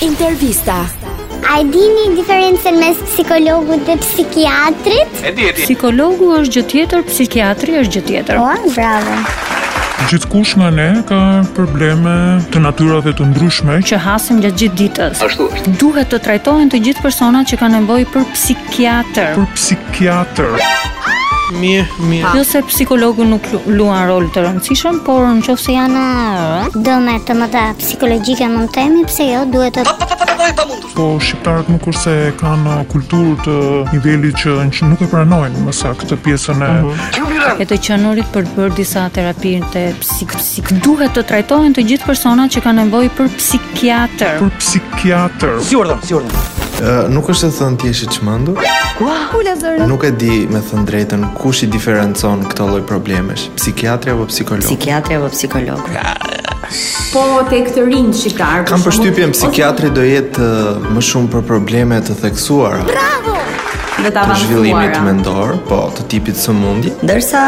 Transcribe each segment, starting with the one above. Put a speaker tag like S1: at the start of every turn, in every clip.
S1: Intervista.
S2: A e dini diferencën mes psikologut dhe psikiatrit?
S3: E di, e di.
S4: Psikologu është gjë tjetër, psikiatri është gjë tjetër.
S2: O, Po, bravo.
S5: Gjithkush nga ne ka probleme të natyrave të ndryshme
S4: Që hasim gjatë gjithë ditës.
S3: Ashtu është.
S4: Duhet të trajtohen të gjithë personat që kanë nevojë për psikiatër.
S5: për psikiatër.
S6: Mirë, mirë.
S4: Jo se psikologu nuk lu- luan rol të rëndësishëm, por në qofë se janë
S2: Dëme të mëdha psikologjike mund temi, pse jo duhet të
S5: Po shqiptarët nuk është se kanë uh, kulturë të nivelit që që nuk e pranojnë më saktë këtë pjesën e
S4: e të qenurit për të bërë disa terapi të psik psik. Duhet të trajtohen të gjithë personat që kanë nevojë për psikiatër.
S5: për psikiatër.
S7: Ë, nuk është se thënë ti je i çmendur? Nuk e di me thënë drejtën kush i diferencon këto lloj problemesh, psikiatri apo psikolog?
S8: Psikiatri apo psikolog?
S9: Po tek të rinj shqiptar. për
S7: Kam
S9: shembull,
S7: përshtypjen
S9: ose
S7: psikiatri do jetë ë, më shumë për probleme të theksuara,
S9: dhe të
S7: të zhvillimit
S9: avancuara.
S7: mendor, po të tipit sëmundje.
S8: Ndërsa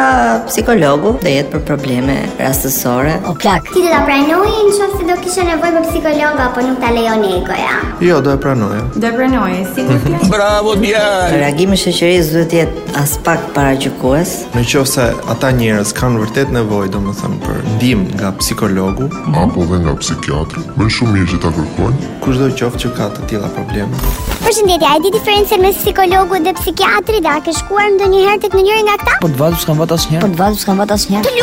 S8: psikologu do jetë për probleme rastësore.
S1: O plak.
S2: Ti do ta pranojë në qoftë se do kishe nevojë për psikolog apo nuk ta lejon egoja.
S7: Jo, do e pranoja.
S9: Dhe pranoj, si të thjesht.
S3: Bravo, djalë.
S8: Reagimi i shoqërisë duhet të jetë as pak paragjykues.
S7: Në qoftë se ata njerëz kanë vërtet nevojë, domethënë për ndihmë nga psikologu,
S10: apo dhe po nga psikiatri, më shumë mirë që ta kërkojnë,
S7: kushdo qoftë që ka të tilla probleme.
S2: Përshëndetje, a e di diferencën mes psikologut dhe psikiatrit? A ke shkuar ndonjëherë tek ndonjëri nga këta?
S6: Po të vazhdo s'kam vat asnjëherë.
S8: Po të vazhdosh kam vat asnjëherë.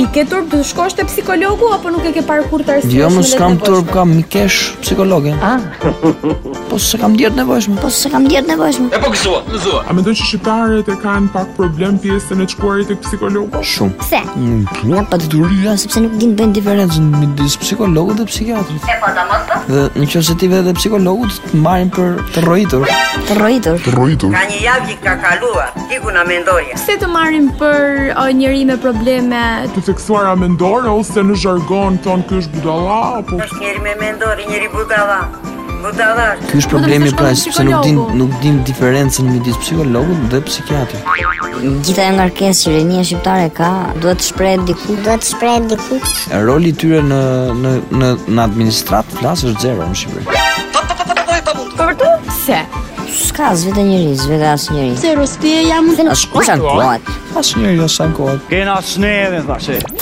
S9: I ke turp të shkosh te psikologu apo nuk e ke parë kur të arsyesh?
S6: Jo, më s'kam turp, kam mikesh psikologe. Ah. Po se kam djerë të nevojshme.
S8: Po s'e kam djerë nevojshme.
S3: E po gëzua, gëzua.
S5: A mendon që shqiptarët e kanë pak problem pjesën e shkuarit tek psikologu?
S6: Shumë.
S2: Pse?
S6: Nga pa të duria, sepse nuk din bëjnë diferencën midis psikologut dhe psikiatrit. E po ta mos Dhe në qoftë se ti vetë dhe psikologut të marrin për të rrojitur.
S8: Të rrojitur.
S10: të rrojitur.
S8: një javë që ka kaluar, iku na mendoja.
S9: Pse të marrim për o, njëri me probleme?
S5: Të theksuara mendore ose në jargon thon ky është budalla apo
S8: Është njëri me mendori, njëri budalla. Budalla.
S6: Ky është problemi pra sepse nuk din nuk din diferencën midis psikologut dhe psikiatrit.
S8: Gjithë ajo ngarkesë që rinia shqiptare ka, duhet të shprehet diku.
S2: Do të shpreh diku.
S6: Roli i tyre në në në në administrat flas është zero në Shqipëri.
S9: Për të? Pse?
S8: S'ka as vetë njëri, vetë as njëri.
S2: Se ruspie jam.
S8: As kush ankohet.
S6: Asnjëri as sa kohë.
S3: Kena snevin, thashe.